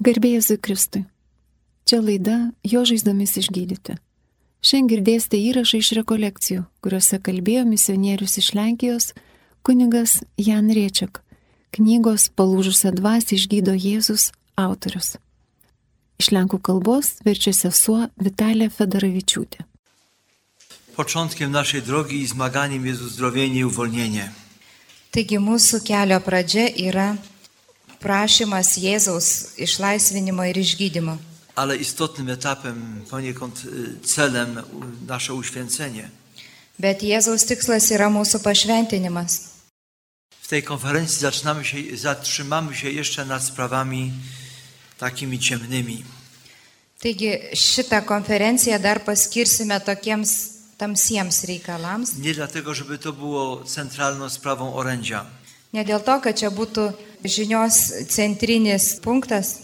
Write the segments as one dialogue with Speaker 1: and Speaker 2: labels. Speaker 1: Garbėjai Zikristui. Čia laida Jo žaizdomis išgydyti. Šiandien girdėsite įrašą iš rekolekcijų, kuriuose kalbėjo misionierius iš Lenkijos kunigas Jan Riečiak, knygos Palūžusią dvasį išgydo Jėzus autorius. Iš lenkų kalbos verčia sesuo Vitalija Fedoravičiūtė.
Speaker 2: Początkiem naszej drogi i zmaganiem jest uzdrowienie i uwolnienie.
Speaker 3: Taigi mūsų kelio pradžia yra prašymas Jėzaus išlaisvinimo ir išgydymo.
Speaker 2: Ale istotnym etapem, poniekąd y, celem u- nasze uświęcenie.
Speaker 3: Bet Jėzaus tikslas yra mūsų pašventinimas.
Speaker 2: W tej konferencji zaczynamy się, zatrzymamy się jeszcze nad sprawami takimi ciemnymi.
Speaker 3: Taigi šitą konferenciją dar paskirsime tokiems tamsiems reikalams.
Speaker 2: Nie dlatego, żeby to było centralną sprawą orędzia.
Speaker 3: Ne dėl to, kad čia būtų žinios centrinis punktas.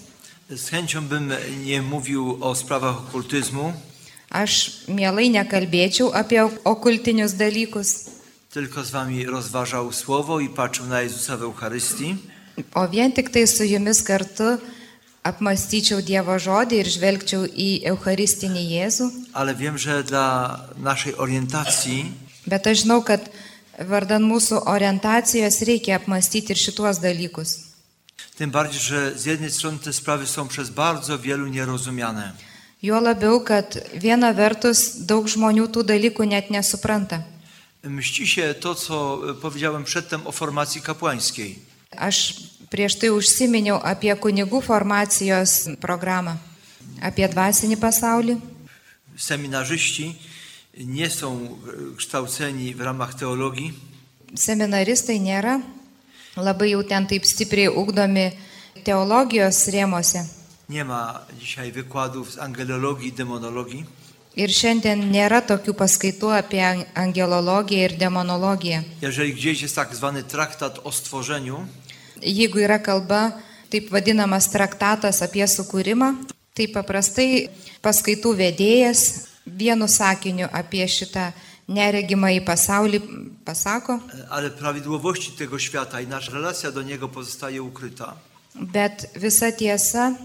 Speaker 2: Z chęcią bym nie mówił o sprawach okultyzmu,
Speaker 3: Aš mielai nekalbėčiau apie okultinius dalykus,
Speaker 2: tylko z wami rozważał słowo i patrzył na Jezusa w Eucharystii.
Speaker 3: o vien tik tai su jumis kartu apmastyčiau Dievo žodį ir žvelgčiau į Eucharistinį Jėzų.
Speaker 2: Ale wiem, że dla naszej orientacji
Speaker 3: Bet aš žinau, kad vardan mūsų orientacijos reikia apmastyti ir šituos dalykus.
Speaker 2: Tym bardziej, że z jednej strony te sprawy są przez bardzo wielu nierozumiane.
Speaker 3: Juo labiau, kad viena vertus daug žmonių tų dalykų net nesupranta.
Speaker 2: Mści się to, co e, powiedziałem przedtem o formacji kapłańskiej.
Speaker 3: Aš prieš tai užsiminiau apie kunigų formacijos programą, apie dvasinį pasaulį.
Speaker 2: Seminarzyści nie są e, kształceni w ramach teologii,
Speaker 3: Seminaristai nėra labai jau ten taip stipriai ugdomi teologijos rėmose.
Speaker 2: nie ma dzisiaj wykładów z angelologii i demonologii.
Speaker 3: Ir šiandien nėra tokių paskaitų apie angelologiją ir demonologiją.
Speaker 2: Jeżeli gdzieś jest tak zwany traktat o stworzeniu, e,
Speaker 3: Jeigu yra kalba, taip vadinamas traktatas apie sukūrimą, tai paprastai paskaitų vedėjas vienu sakiniu apie šitą neregimą į pasaulį pasako,
Speaker 2: e, ale prawidłowości tego świata i nasza relacja do niego pozostaje ukryta.
Speaker 3: bet visa tiesa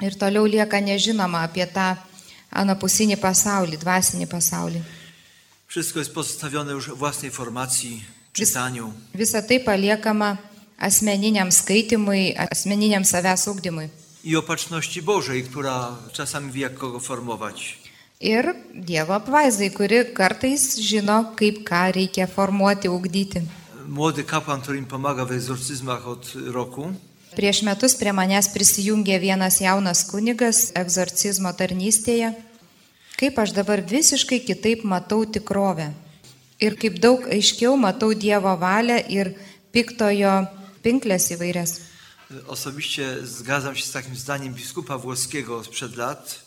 Speaker 3: ir toliau lieka nežinoma apie tą anapusinį pasaulį, dvasinį pasaulį.
Speaker 2: Wszystko jest pozostawione już własnej formacji, czytaniu.
Speaker 3: Visa tai paliekama asmeniniam skaitimui, asmeniniam savęs ugdymui.
Speaker 2: i opatrzności Bożej, która czasami wie, jak kogo formować.
Speaker 3: Ir Dievo apvaizdai, kuri kartais žino, kaip ką reikia formuoti, ugdyti.
Speaker 2: Młody kapłan, który im pomaga w egzorcyzmach od roku,
Speaker 3: Prieš metus prie manęs prisijungė vienas jaunas kunigas egzorcizmo tarnystėje. Kaip aš dabar visiškai kitaip matau tikrovę. Ir kaip daug aiškiau matau Dievo valią ir piktojo pinklės įvairias.
Speaker 2: osobiście zgadzam się z takim zdaniem biskupa włoskiego sprzed lat,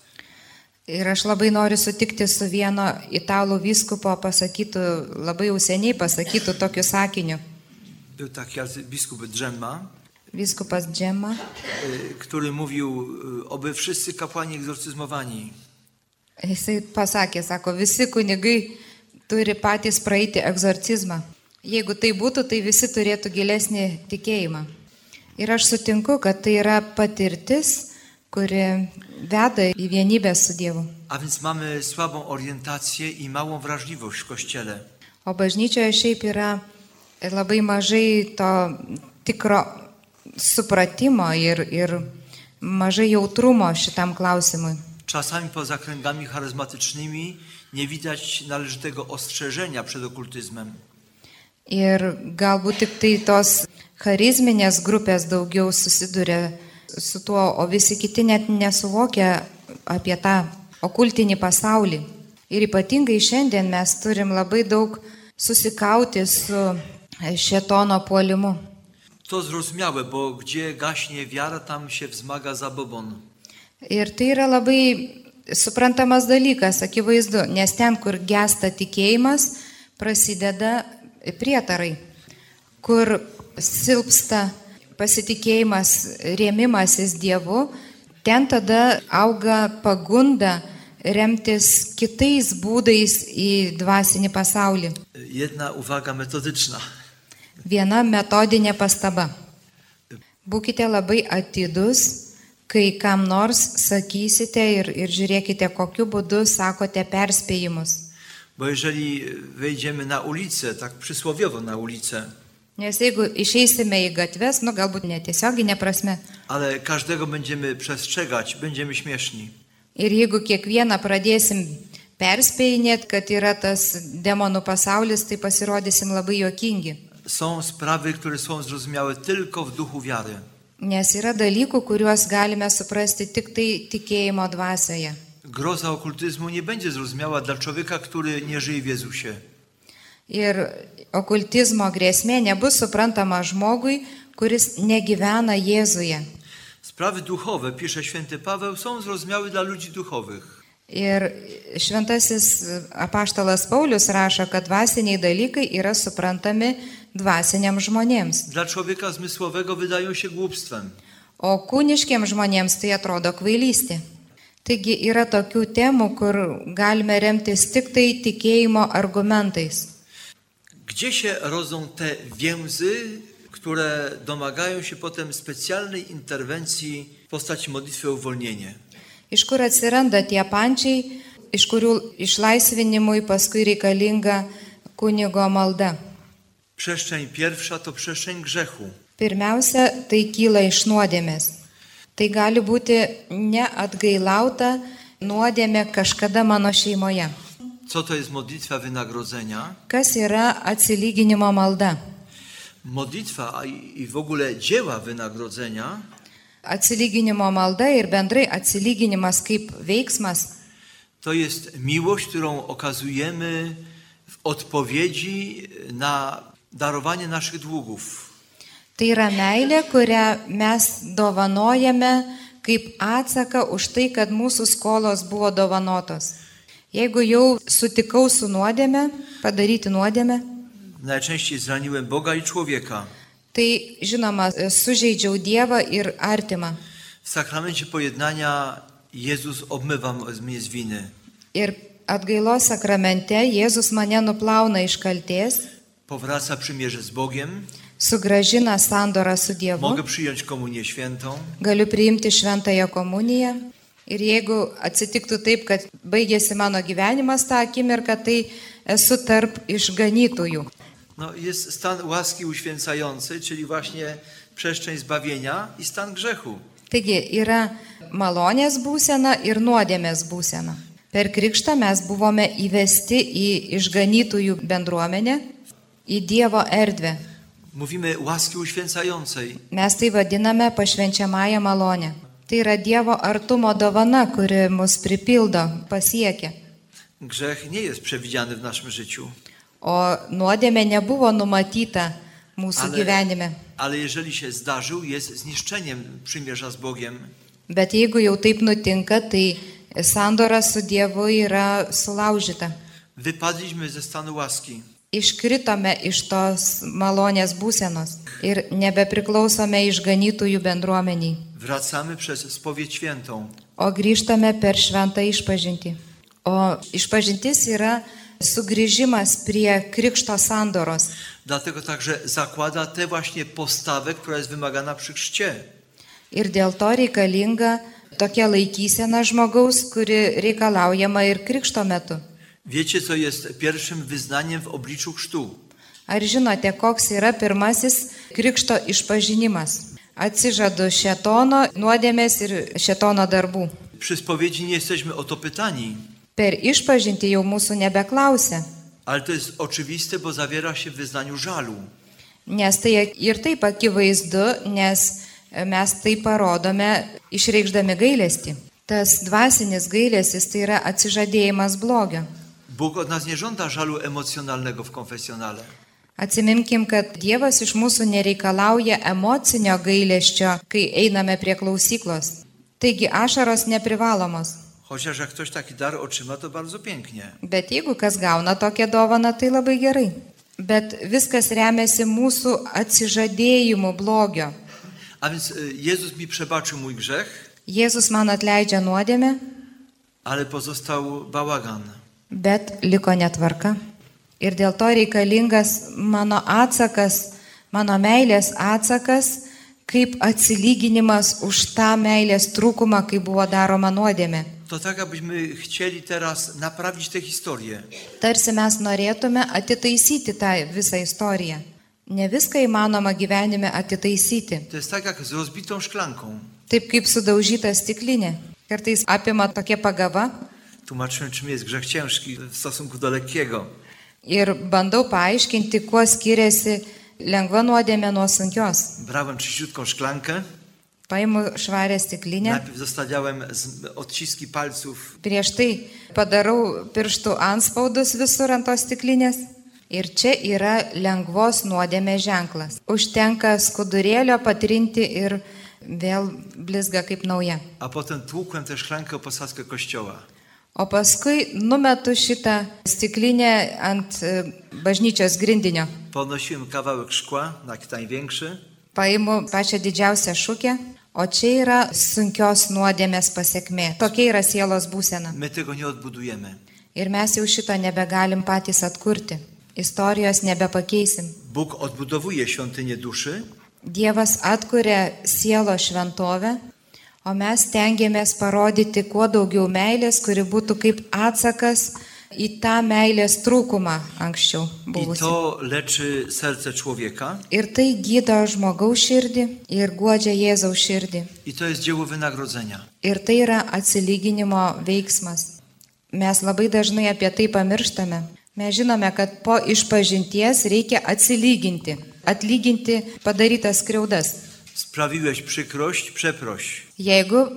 Speaker 3: Ir aš labai noriu sutikti su vieno italų vyskupo pasakytų, labai jau seniai pasakytų tokiu sakiniu.
Speaker 2: był taki biskup Drzemma,
Speaker 3: Vyskupas Džema.
Speaker 2: y, który mówił, y, oby wszyscy kapłani egzorcyzmowani.
Speaker 3: Jisai pasakė, sako, visi kunigai turi patys praeiti egzorcizmą. Jeigu tai būtų, tai visi turėtų gilesnį tikėjimą. Ir aš sutinku, kad tai yra patirtis, kuri veda į vienybę su Dievu.
Speaker 2: A więc mamy słabą orientację i małą wrażliwość w Kościele.
Speaker 3: O bažnyčioje šiaip yra labai mažai to tikro supratimo ir, ir mažai jautrumo šitam klausimui.
Speaker 2: Czasami poza kręgami charyzmatycznymi nie widać należytego ostrzeżenia przed okultyzmem.
Speaker 3: Ir galbūt tik tai tos charizminės grupės daugiau susiduria su tuo, o visi kiti net nesuvokia apie tą okultinį pasaulį. Ir ypatingai šiandien mes turim labai daug susikauti su šetono puolimu.
Speaker 2: To zrozumiałe, bo gdzie gaśnie wiara, tam się wzmaga zabobon.
Speaker 3: Ir tai yra labai suprantamas dalykas, akivaizdu, nes ten, kur gesta tikėjimas, prasideda prietarai, kur silpsta pasitikėjimas, rėmimasis Dievu, ten tada auga pagunda remtis kitais būdais į dvasinį pasaulį.
Speaker 2: Jedna uwaga metodyczna.
Speaker 3: Viena metodinė pastaba. Būkite labai atidus kai kam nors sakysite ir, ir žiūrėkite, kokiu būdu sakote perspėjimus.
Speaker 2: Bo jeżeli wejdziemy na ulicę, tak przysłowiowo na ulicę,
Speaker 3: Nes jeigu išeisime į gatves, nu galbūt netiesioginė prasme,
Speaker 2: ale każdego będziemy przestrzegać, będziemy śmieszni.
Speaker 3: ir jeigu kiekvieną pradėsim perspėjinėt, kad yra tas demonų pasaulis, tai pasirodysim labai juokingi.
Speaker 2: Są sprawy, które są zrozumiałe tylko w duchu wiary.
Speaker 3: Nes yra dalykų, kuriuos galime suprasti tik tai tikėjimo dvasioje.
Speaker 2: Groza okultyzmu nie będzie zrozumiała dla człowieka, który nie żyje w Jezusie.
Speaker 3: Ir okultizmo grėsmė nebus suprantama žmogui, kuris negyvena Jėzuje.
Speaker 2: Sprawy duchowe, pisze święty Paweł, są zrozumiałe dla ludzi duchowych.
Speaker 3: Ir šventasis apaštalas Paulius rašo, kad dvasiniai dalykai yra suprantami dvasiniam žmonėms,
Speaker 2: Dla człowieka zmysłowego wydają się głupstwem.
Speaker 3: o kūniškiam žmonėms tai atrodo kvailystė. Taigi yra tokių temų, kur galime remtis tik tai tikėjimo argumentais.
Speaker 2: Gdzie się rodzą te więzy, które domagają się potem specjalnej interwencji w postaci modlitwy o uwolnienie?
Speaker 3: Iš kur atsiranda tie pančiai, iš kurių išlaisvinimui paskui reikalinga kunigo malda.
Speaker 2: Przestrzeń pierwsza to przestrzeń grzechu.
Speaker 3: Pirmiausia, tai kyla iš nuodėmės. Tai gali būti neatgailauta nuodėmė kažkada mano šeimoje.
Speaker 2: Co to jest modlitwa wynagrodzenia?
Speaker 3: Kas yra atsilyginimo malda?
Speaker 2: Modlitwa a i i w ogóle dzieła wynagrodzenia
Speaker 3: Atsilyginimo malda ir bendrai atsilyginimas kaip veiksmas
Speaker 2: to jest miłość, którą okazujemy w odpowiedzi na darowanie naszych długów.
Speaker 3: tai yra meilė, kurią mes dovanojame kaip atsaką už tai, kad mūsų skolos buvo dovanotos. Jeigu jau sutikau su nuodėme, padaryti nuodėme,
Speaker 2: Najczęściej zraniłem Boga i człowieka.
Speaker 3: tai žinoma, sužeidžiau Dievą ir artimą.
Speaker 2: W sakramencie pojednania Jezus obmywa mnie z winy.
Speaker 3: Ir atgailos sakramente Jėzus mane nuplauna iš kalties,
Speaker 2: Powraca przymierze z Bogiem.
Speaker 3: Mhm. sugražina sandorą su Dievu,
Speaker 2: Mogę przyjąć komunię świętą.
Speaker 3: galiu priimti šventąją komuniją. Ir jeigu atsitiktų taip, kad baigėsi mano gyvenimas tą akimirką, tai esu tarp išganytųjų.
Speaker 2: No, jest stan łaski uświęcający, czyli właśnie przestrzeń zbawienia i stan grzechu.
Speaker 3: Taigi yra malonės būsena ir nuodėmės būsena. Per krikštą mes buvome įvesti į išganytųjų bendruomenę, į Dievo erdvę.
Speaker 2: Mówimy łaski uświęcającej.
Speaker 3: Mes tai vadiname pašvenčiamąją malonę. Tai yra Dievo artumo dovana, kuri mus pripildo, pasiekia.
Speaker 2: Grzech nie jest przewidziany w naszym życiu.
Speaker 3: O nuodėmė nebuvo numatyta mūsų gyvenime.
Speaker 2: ale jeżeli się zdarzył, jest zniszczeniem przymierza z Bogiem.
Speaker 3: Bet jeigu jau taip nutinka, tai sandora su Dievu yra sulaužyta.
Speaker 2: Wypadliśmy ze stanu łaski.
Speaker 3: Iškritome iš tos malonės būsenos ir nebepriklausome išganytųjų bendruomeniai,
Speaker 2: Wracamy przez spowiedź świętą.
Speaker 3: o grįžtame per šventą išpažinti. O išpažintis yra sugrįžimas prie krikšto sandoros.
Speaker 2: Dlatego także zakłada tę właśnie postawę, która jest wymagana przy chrzcie.
Speaker 3: Ir dėl to reikalinga tokia laikysena žmogaus, kuri reikalaujama ir krikšto metu.
Speaker 2: Wiecie, co jest pierwszym wyznaniem w obliczu chrztu?
Speaker 3: Ar žinote, koks yra pirmasis krikšto išpažinimas? Atsižadu šetono nuodėmės ir šetono darbų.
Speaker 2: Przy spowiedzi nie jesteśmy o to pytani,
Speaker 3: Per išpažinti jau mūsų nebeklausia,
Speaker 2: ale to jest oczywiste, bo zawiera się w wyznaniu żalu.
Speaker 3: nes tai ir taip akivaizdu, nes mes tai parodome išreikšdami gailestį. Tas dvasinis gailestis tai yra atsižadėjimas blogio.
Speaker 2: Bóg od nas nie żąda żalu emocjonalnego w konfesjonale.
Speaker 3: Atsiminkim, kad Dievas iš mūsų nereikalauja emocinio gailesčio, kai einame prie klausyklos. Taigi ašaros neprivalomos.
Speaker 2: Chociaż jak ktoś taki dar otrzyma, to bardzo pięknie.
Speaker 3: Bet jeigu kas gauna tokią dovaną, tai labai gerai. Bet viskas remiasi mūsų atsižadėjimu blogio.
Speaker 2: A więc y, Jezus mi przebaczył mój grzech,
Speaker 3: Jėzus man atleidžia nuodėmę,
Speaker 2: ale pozostał bałagan.
Speaker 3: bet liko netvarka. Ir dėl to reikalingas mano atsakas, mano meilės atsakas, kaip atsilyginimas už tą meilės trūkumą, kai buvo daroma nuodėme.
Speaker 2: To tak, abyśmy chcieli teraz naprawić tę historię.
Speaker 3: Tarsi mes norėtume atitaisyti tą visą istoriją. Ne viską įmanoma gyvenime atitaisyti.
Speaker 2: To jest tak jak z rozbitą szklanką.
Speaker 3: Taip kaip sudaužyta stiklinė. Kartais apima tokia pagava
Speaker 2: Tłumaczyłem, czym jest grzech ciężki w stosunku do lekkiego.
Speaker 3: ir bandau paaiškinti, kuo skiriasi lengva nuodėmė nuo sunkios.
Speaker 2: Brałem czyściutką szklankę,
Speaker 3: Paimu švarę stiklinę,
Speaker 2: najpierw zostawiałem z- odciski palców,
Speaker 3: prieš tai padarau pirštų anspaudus visur ant tos stiklinės. Ir čia yra lengvos nuodėmės ženklas. Užtenka skudurėlio patrinti ir vėl blizga kaip nauja.
Speaker 2: a potem tłukłem tę szklankę o posadzkę kościoła.
Speaker 3: O paskui numetu šitą stiklinę ant e, bažnyčios grindinio.
Speaker 2: Podnosiłem kawałek szkła, jak największy,
Speaker 3: Paimu pačią didžiausią šūkę, o čia yra sunkios nuodėmės pasiekmė. Tokia yra sielos būsena.
Speaker 2: my tego nie odbudujemy.
Speaker 3: Ir mes jau šito nebegalim patys atkurti. Istorijos nebepakeisim.
Speaker 2: Bóg odbudowuje świątynię duszy,
Speaker 3: Dievas atkuria sielo šventovę, o mes tengiamės parodyti kuo daugiau meilės, kuri būtų kaip atsakas į tą meilės trūkumą anksčiau
Speaker 2: I
Speaker 3: buvusi.
Speaker 2: to leczy serce człowieka.
Speaker 3: Ir tai gydo žmogaus širdį ir guodžia Jėzaus širdį.
Speaker 2: I to jest dzieło wynagrodzenia.
Speaker 3: Ir tai yra atsilyginimo veiksmas. Mes labai dažnai apie tai pamirštame. Mes žinome, kad po išpažinties reikia atsilyginti, atlyginti padarytas skriaudas.
Speaker 2: Sprawiłeś przykrość, przeproś.
Speaker 3: Jeigu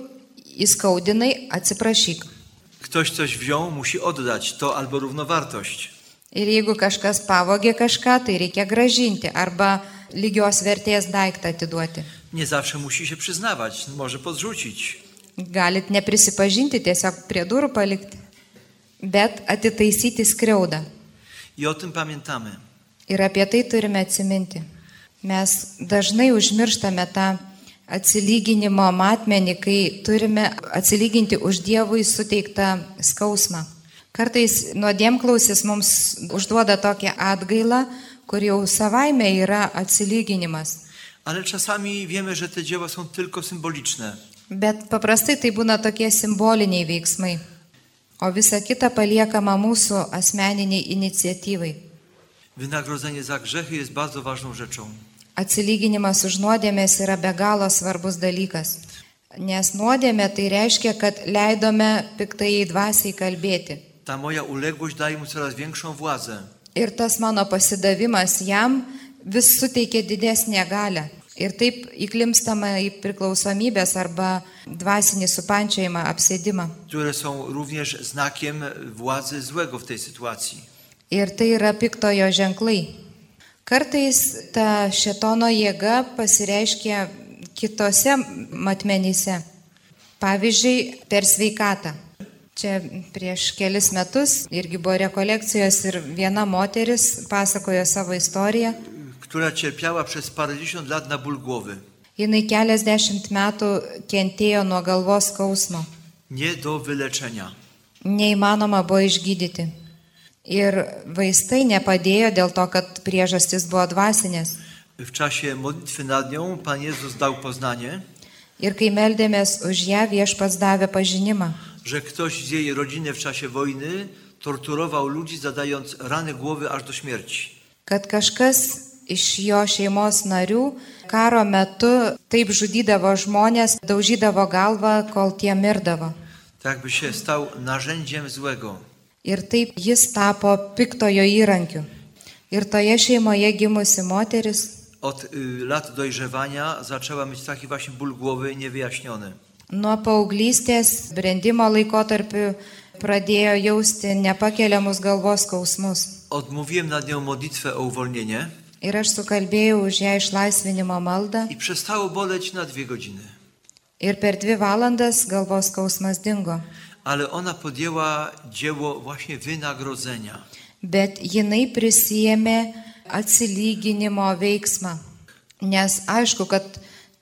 Speaker 3: įskaudinai, atsiprašyk.
Speaker 2: Ktoś coś wziął, musi oddać to albo równowartość.
Speaker 3: Ir jeigu kažkas pavogė kažką, tai reikia gražinti arba lygios vertės daiktą atiduoti.
Speaker 2: Nie zawsze musi się przyznawać, może podrzucić.
Speaker 3: Galit neprisipažinti, tiesiog prie durų palikti, bet atitaisyti skriaudą.
Speaker 2: I o tym pamiętamy.
Speaker 3: Ir apie tai turime atsiminti. Mes dažnai užmirštame tą atsilyginimo matmenį, kai turime atsilyginti už Dievui suteiktą skausmą. Kartais nuodėmklausis mums užduoda tokią atgailą, kur jau savaime yra atsilyginimas.
Speaker 2: Ale czasami wiemy, że te dzieła są tylko symboliczne.
Speaker 3: Bet paprastai tai būna tokie simboliniai veiksmai, o visa kita paliekama mūsų asmeniniai iniciatyvai.
Speaker 2: Wynagrodzenie za grzechy jest bardzo ważną rzeczą.
Speaker 3: Atsilyginimas už nuodėmės yra be galo svarbus dalykas. Nes nuodėmė tai reiškia, kad leidome piktai dvasiai kalbėti.
Speaker 2: Ta moja uległość daje mu coraz większą władzę.
Speaker 3: Ir tas mano pasidavimas jam vis suteikia didesnę galę. Ir taip įklimstama į priklausomybės arba dvasinį supančiojimą, apsėdimą.
Speaker 2: które są również znakiem władzy złego w tej sytuacji.
Speaker 3: Ir tai yra piktojo ženklai. Kartais ta šetono jėga pasireiškia kitose matmenyse. Pavyzdžiui, per sveikatą. Čia prieš kelis metus irgi buvo rekolekcijos ir viena moteris pasakojo savo istoriją.
Speaker 2: Która cierpiała przez parędziesiąt lat na ból głowy.
Speaker 3: Jis keliasdešimt metų kentėjo nuo galvos skausmo.
Speaker 2: Nie do wyleczenia.
Speaker 3: Neįmanoma buvo išgydyti. Ir vaistai nepadėjo dėl to, kad priežastis buvo dvasinės.
Speaker 2: W czasie modlitwy nad nią Pan Jezus dał poznanie,
Speaker 3: Ir kai meldėmės už ją, viešpats davė pažinimą,
Speaker 2: że ktoś z jej rodziny w czasie wojny torturował ludzi, zadając rany głowy aż do śmierci.
Speaker 3: kad kažkas iš jo šeimos narių karo metu taip žudydavo žmonės, daužydavo galvą, kol tie mirdavo.
Speaker 2: Tak jakby się stał narzędziem złego.
Speaker 3: Ir taip jis tapo piktojo įrankiu. Ir toje šeimoje gimusi moteris
Speaker 2: Od y, lat dojrzewania zaczęła mieć taki właśnie ból głowy niewyjaśniony.
Speaker 3: nuo paauglystės brendimo laikotarpiu pradėjo jausti nepakeliamus galvos skausmus.
Speaker 2: Odmówiłem nad nią modlitwę o uwolnienie
Speaker 3: Ir aš sukalbėjau už ją išlaisvinimo maldą.
Speaker 2: i przestało boleć na dwie godziny.
Speaker 3: Ir per dvi valandas galvos skausmas dingo.
Speaker 2: Ale ona podjęła dzieło właśnie wynagrodzenia.
Speaker 3: Bet jinai prisijėmė atsilyginimo veiksmą. Nes aišku, kad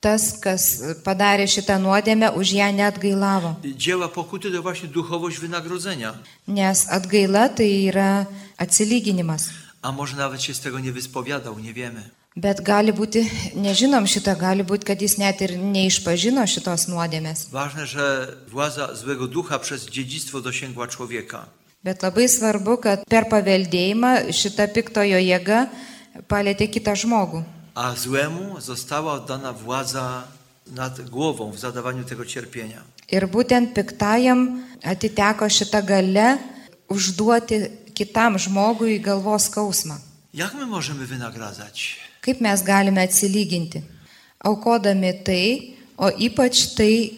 Speaker 3: tas, kas padarė šitą nuodėmę, už ją net gailavo.
Speaker 2: Dzieła pokuty to właśnie duchowość wynagrodzenia.
Speaker 3: Nes atgaila tai yra atsilyginimas.
Speaker 2: A może nawet się z tego nie wyspowiadał, nie wiemy.
Speaker 3: Bet gali būti, nežinom šito, gali būti, kad jis net ir neišpažino šitos nuodėmės.
Speaker 2: Ważne, że władza złego ducha przez dziedzictwo dosięgła człowieka.
Speaker 3: Bet labai svarbu, kad per paveldėjimą šita piktojo jėga palėtė kitą žmogų.
Speaker 2: A złemu została oddana władza nad głową w zadawaniu tego cierpienia.
Speaker 3: Ir būtent piktajam atiteko šita gale užduoti kitam žmogui galvos skausmą.
Speaker 2: Jak my możemy wynagradzać?
Speaker 3: Kaip mes galime atsilyginti? Aukodami tai, o ypač tai,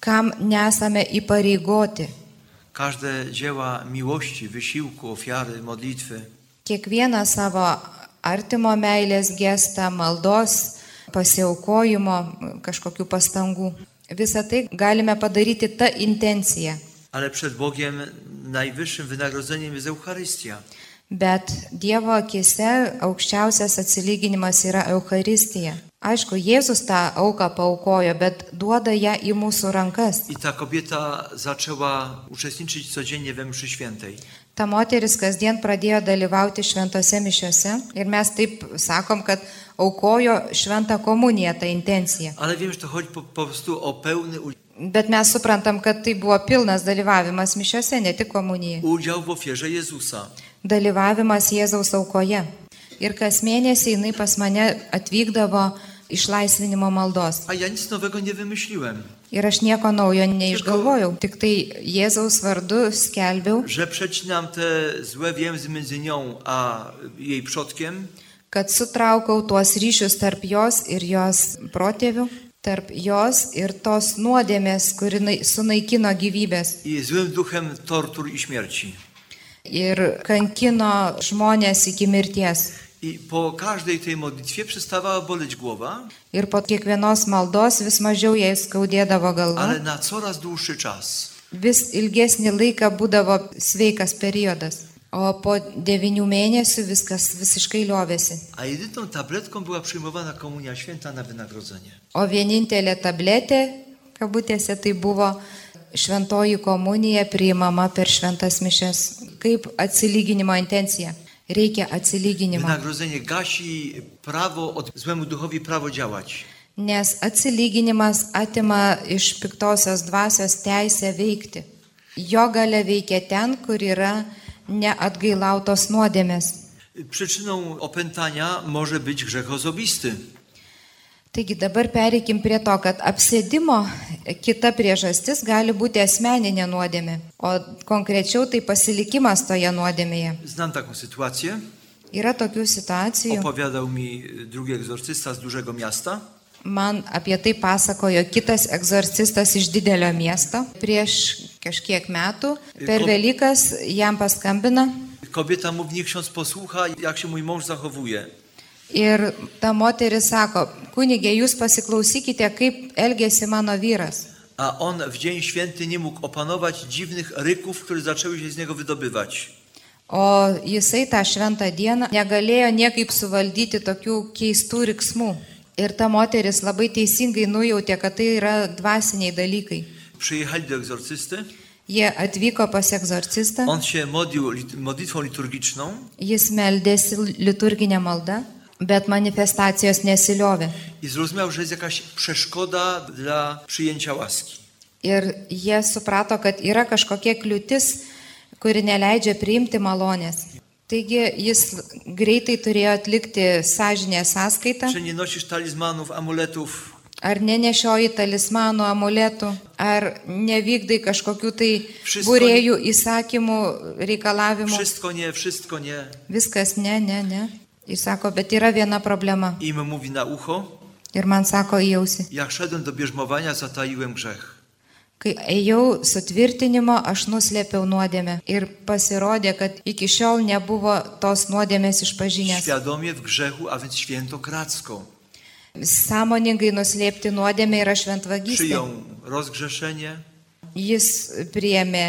Speaker 3: kam nesame įpareigoti.
Speaker 2: Każde dzieła miłości, wysiłku, ofiary, modlitwy
Speaker 3: Kiekvieną savo artimo meilės gestą, maldos, pasiaukojimo, kažkokių pastangų. Visą tai galime padaryti tą intenciją.
Speaker 2: Ale przed Bogiem najwyższym wynagrodzeniem jest Eucharystia.
Speaker 3: Bet Dievo akise aukščiausias atsilyginimas yra Eucharistija. Aišku, Jėzus tą auką paukojo, bet duoda ją į mūsų rankas.
Speaker 2: I ta kobieta zaczęła uczestniczyć codziennie we mszy świętej.
Speaker 3: Ta moteris kasdien pradėjo dalyvauti šventose mišiuose ir mes taip sakom, kad aukojo šventą komuniją tą intenciją.
Speaker 2: Ale wiem, że to chodzi po, po prostu o pełny u-
Speaker 3: Bet mes suprantam, kad tai buvo pilnas dalyvavimas mišiuose, ne tik komunijai.
Speaker 2: udział w ofierze Jezusa.
Speaker 3: Dalyvavimas Jėzaus aukoje. Ir kas mėnesį jinai pas mane atvykdavo išlaisvinimo maldos.
Speaker 2: A ja nic nowego nie wymyśliłem,
Speaker 3: Ir aš nieko naujo neišgalvojau, tik tai Jėzaus vardu skelbiau,
Speaker 2: że przecinam te złe więzy między nią a jej przodkiem
Speaker 3: kad sutraukau tuos ryšius tarp jos ir jos protėvių, tarp jos ir tos nuodėmės, kuri nai- sunaikino gyvybės
Speaker 2: i złym duchem tortur i śmierci.
Speaker 3: ir kankino žmonės iki mirties.
Speaker 2: I po każdej tej modlitwie przestawała boleć głowa,
Speaker 3: Ir po kiekvienos maldos vis mažiau jai skaudėdavo
Speaker 2: ale
Speaker 3: galva,
Speaker 2: na coraz dłuższy czas.
Speaker 3: vis ilgesnį laiką būdavo sveikas periodas, o po devinių mėnesių viskas visiškai liovėsi.
Speaker 2: A jedyną tabletką była przyjmowana Komunia Święta na wynagrodzenie.
Speaker 3: O vienintelė tabletė, kabutėse, tai buvo šventoji komunija priimama per šventas mišes. Kaip atsilyginimo intencija? Reikia atsilyginimo.
Speaker 2: Wynagrodzenie gasi prawo, od złemu duchowi prawo działać.
Speaker 3: Nes atsilyginimas atima iš piktosios dvasios teisę veikti. Jo gale veikia ten, kur yra neatgailautos nuodėmės.
Speaker 2: Przyczyną opętania może być grzech osobisty.
Speaker 3: Taigi dabar pereikim prie to, kad apsėdimo kita priežastis gali būti asmeninė nuodėmė, o konkrečiau tai pasilikimas toje nuodėmėje.
Speaker 2: Znam taką sytuację.
Speaker 3: Yra tokių situacijų,
Speaker 2: Opowiadał mi drugi egzorcysta z dużego miasta.
Speaker 3: man apie tai pasakojo kitas egzorcistas iš didelio miesto. Prieš kažkiek metų per Velykas jam paskambina
Speaker 2: Kobieta mówi, niech ksiądz posłucha, jak się mój mąż zachowuje.
Speaker 3: ir ta moteris sako, kunigė, jūs pasiklausykite, kaip elgėsi mano vyras.
Speaker 2: A on w dzień święty nie mógł opanować dziwnych ryków, które zaczęły się z niego wydobywać.
Speaker 3: O jisai tą šventą dieną negalėjo niekaip suvaldyti tokių keistų riksmų. Ir ta moteris labai teisingai nujautė, kad tai yra dvasiniai dalykai.
Speaker 2: Przyjechali do egzorcysty.
Speaker 3: Jie atvyko pas egzorcistą,
Speaker 2: On się modlił lit- modlitwą liturgiczną
Speaker 3: jis meldėsi liturginę maldą, bet manifestacijos nesiliovė.
Speaker 2: i zrozumiał, że jest jakaś przeszkoda dla przyjęcia łaski.
Speaker 3: Ir jie suprato, kad yra kažkokia kliūtis, kuri neleidžia priimti malonės. Taigi jis greitai turėjo atlikti sąžinę sąskaitą.
Speaker 2: Czy nie nosisz talizmanów, amuletów?
Speaker 3: Ar nenešioji talismanų, amuletų, ar nevykdai kažkokių tai
Speaker 2: Wszystko-
Speaker 3: būrėjų įsakymų, reikalavimų.
Speaker 2: Wszystko nie, wszystko nie.
Speaker 3: Viskas ne, ne, ne. Jis sako, bet yra viena problema.
Speaker 2: Im mówi na ucho,
Speaker 3: Ir man sako į ausį.
Speaker 2: jak szedłem do bierzmowania, zataiłem grzech.
Speaker 3: Kai ėjau sutvirtinimo, aš nuslėpiau nuodėmę. Ir pasirodė, kad iki šiol nebuvo tos nuodėmės išpažinęs.
Speaker 2: Świadomie w grzechu, a więc świętokradzko.
Speaker 3: Sąmoningai nuslėpti nuodėmę yra šventvagystė.
Speaker 2: Przyjął rozgrzeszenie,
Speaker 3: Jis priėmė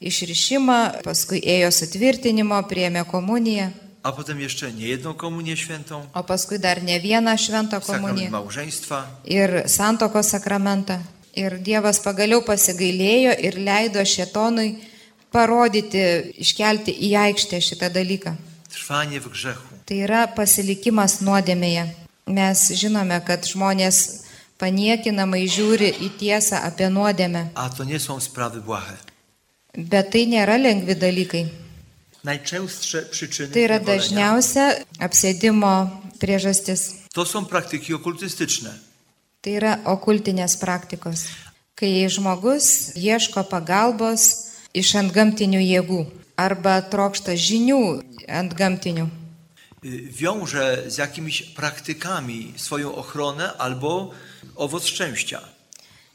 Speaker 3: išrišimą, paskui ėjo sutvirtinimo, priėmė komuniją.
Speaker 2: a potem jeszcze nie jedną komunię świętą,
Speaker 3: O paskui dar ne vieną šventą
Speaker 2: sakrament
Speaker 3: komuniją
Speaker 2: małżeństwa.
Speaker 3: ir santokos sakramentą. Ir Dievas pagaliau pasigailėjo ir leido šetonui parodyti, iškelti į aikštę šitą dalyką.
Speaker 2: Trwanie w grzechu.
Speaker 3: Tai yra pasilikimas nuodėmėje. Mes žinome, kad žmonės paniekinamai žiūri į tiesą apie nuodėmę,
Speaker 2: a to nie są sprawy błahe.
Speaker 3: bet tai nėra lengvi dalykai.
Speaker 2: Najczęstsze przyczyny
Speaker 3: Tai yra
Speaker 2: niewolenia
Speaker 3: dažniausia apsėdimo priežastis.
Speaker 2: to są praktyki okultystyczne.
Speaker 3: Tai yra okultinės praktikos, kai žmogus ieško pagalbos iš antgamtinių jėgų arba trokšta žinių antgamtinių.
Speaker 2: Y, Wiąże z jakimiś praktykami swoją ochronę albo owoc szczęścia.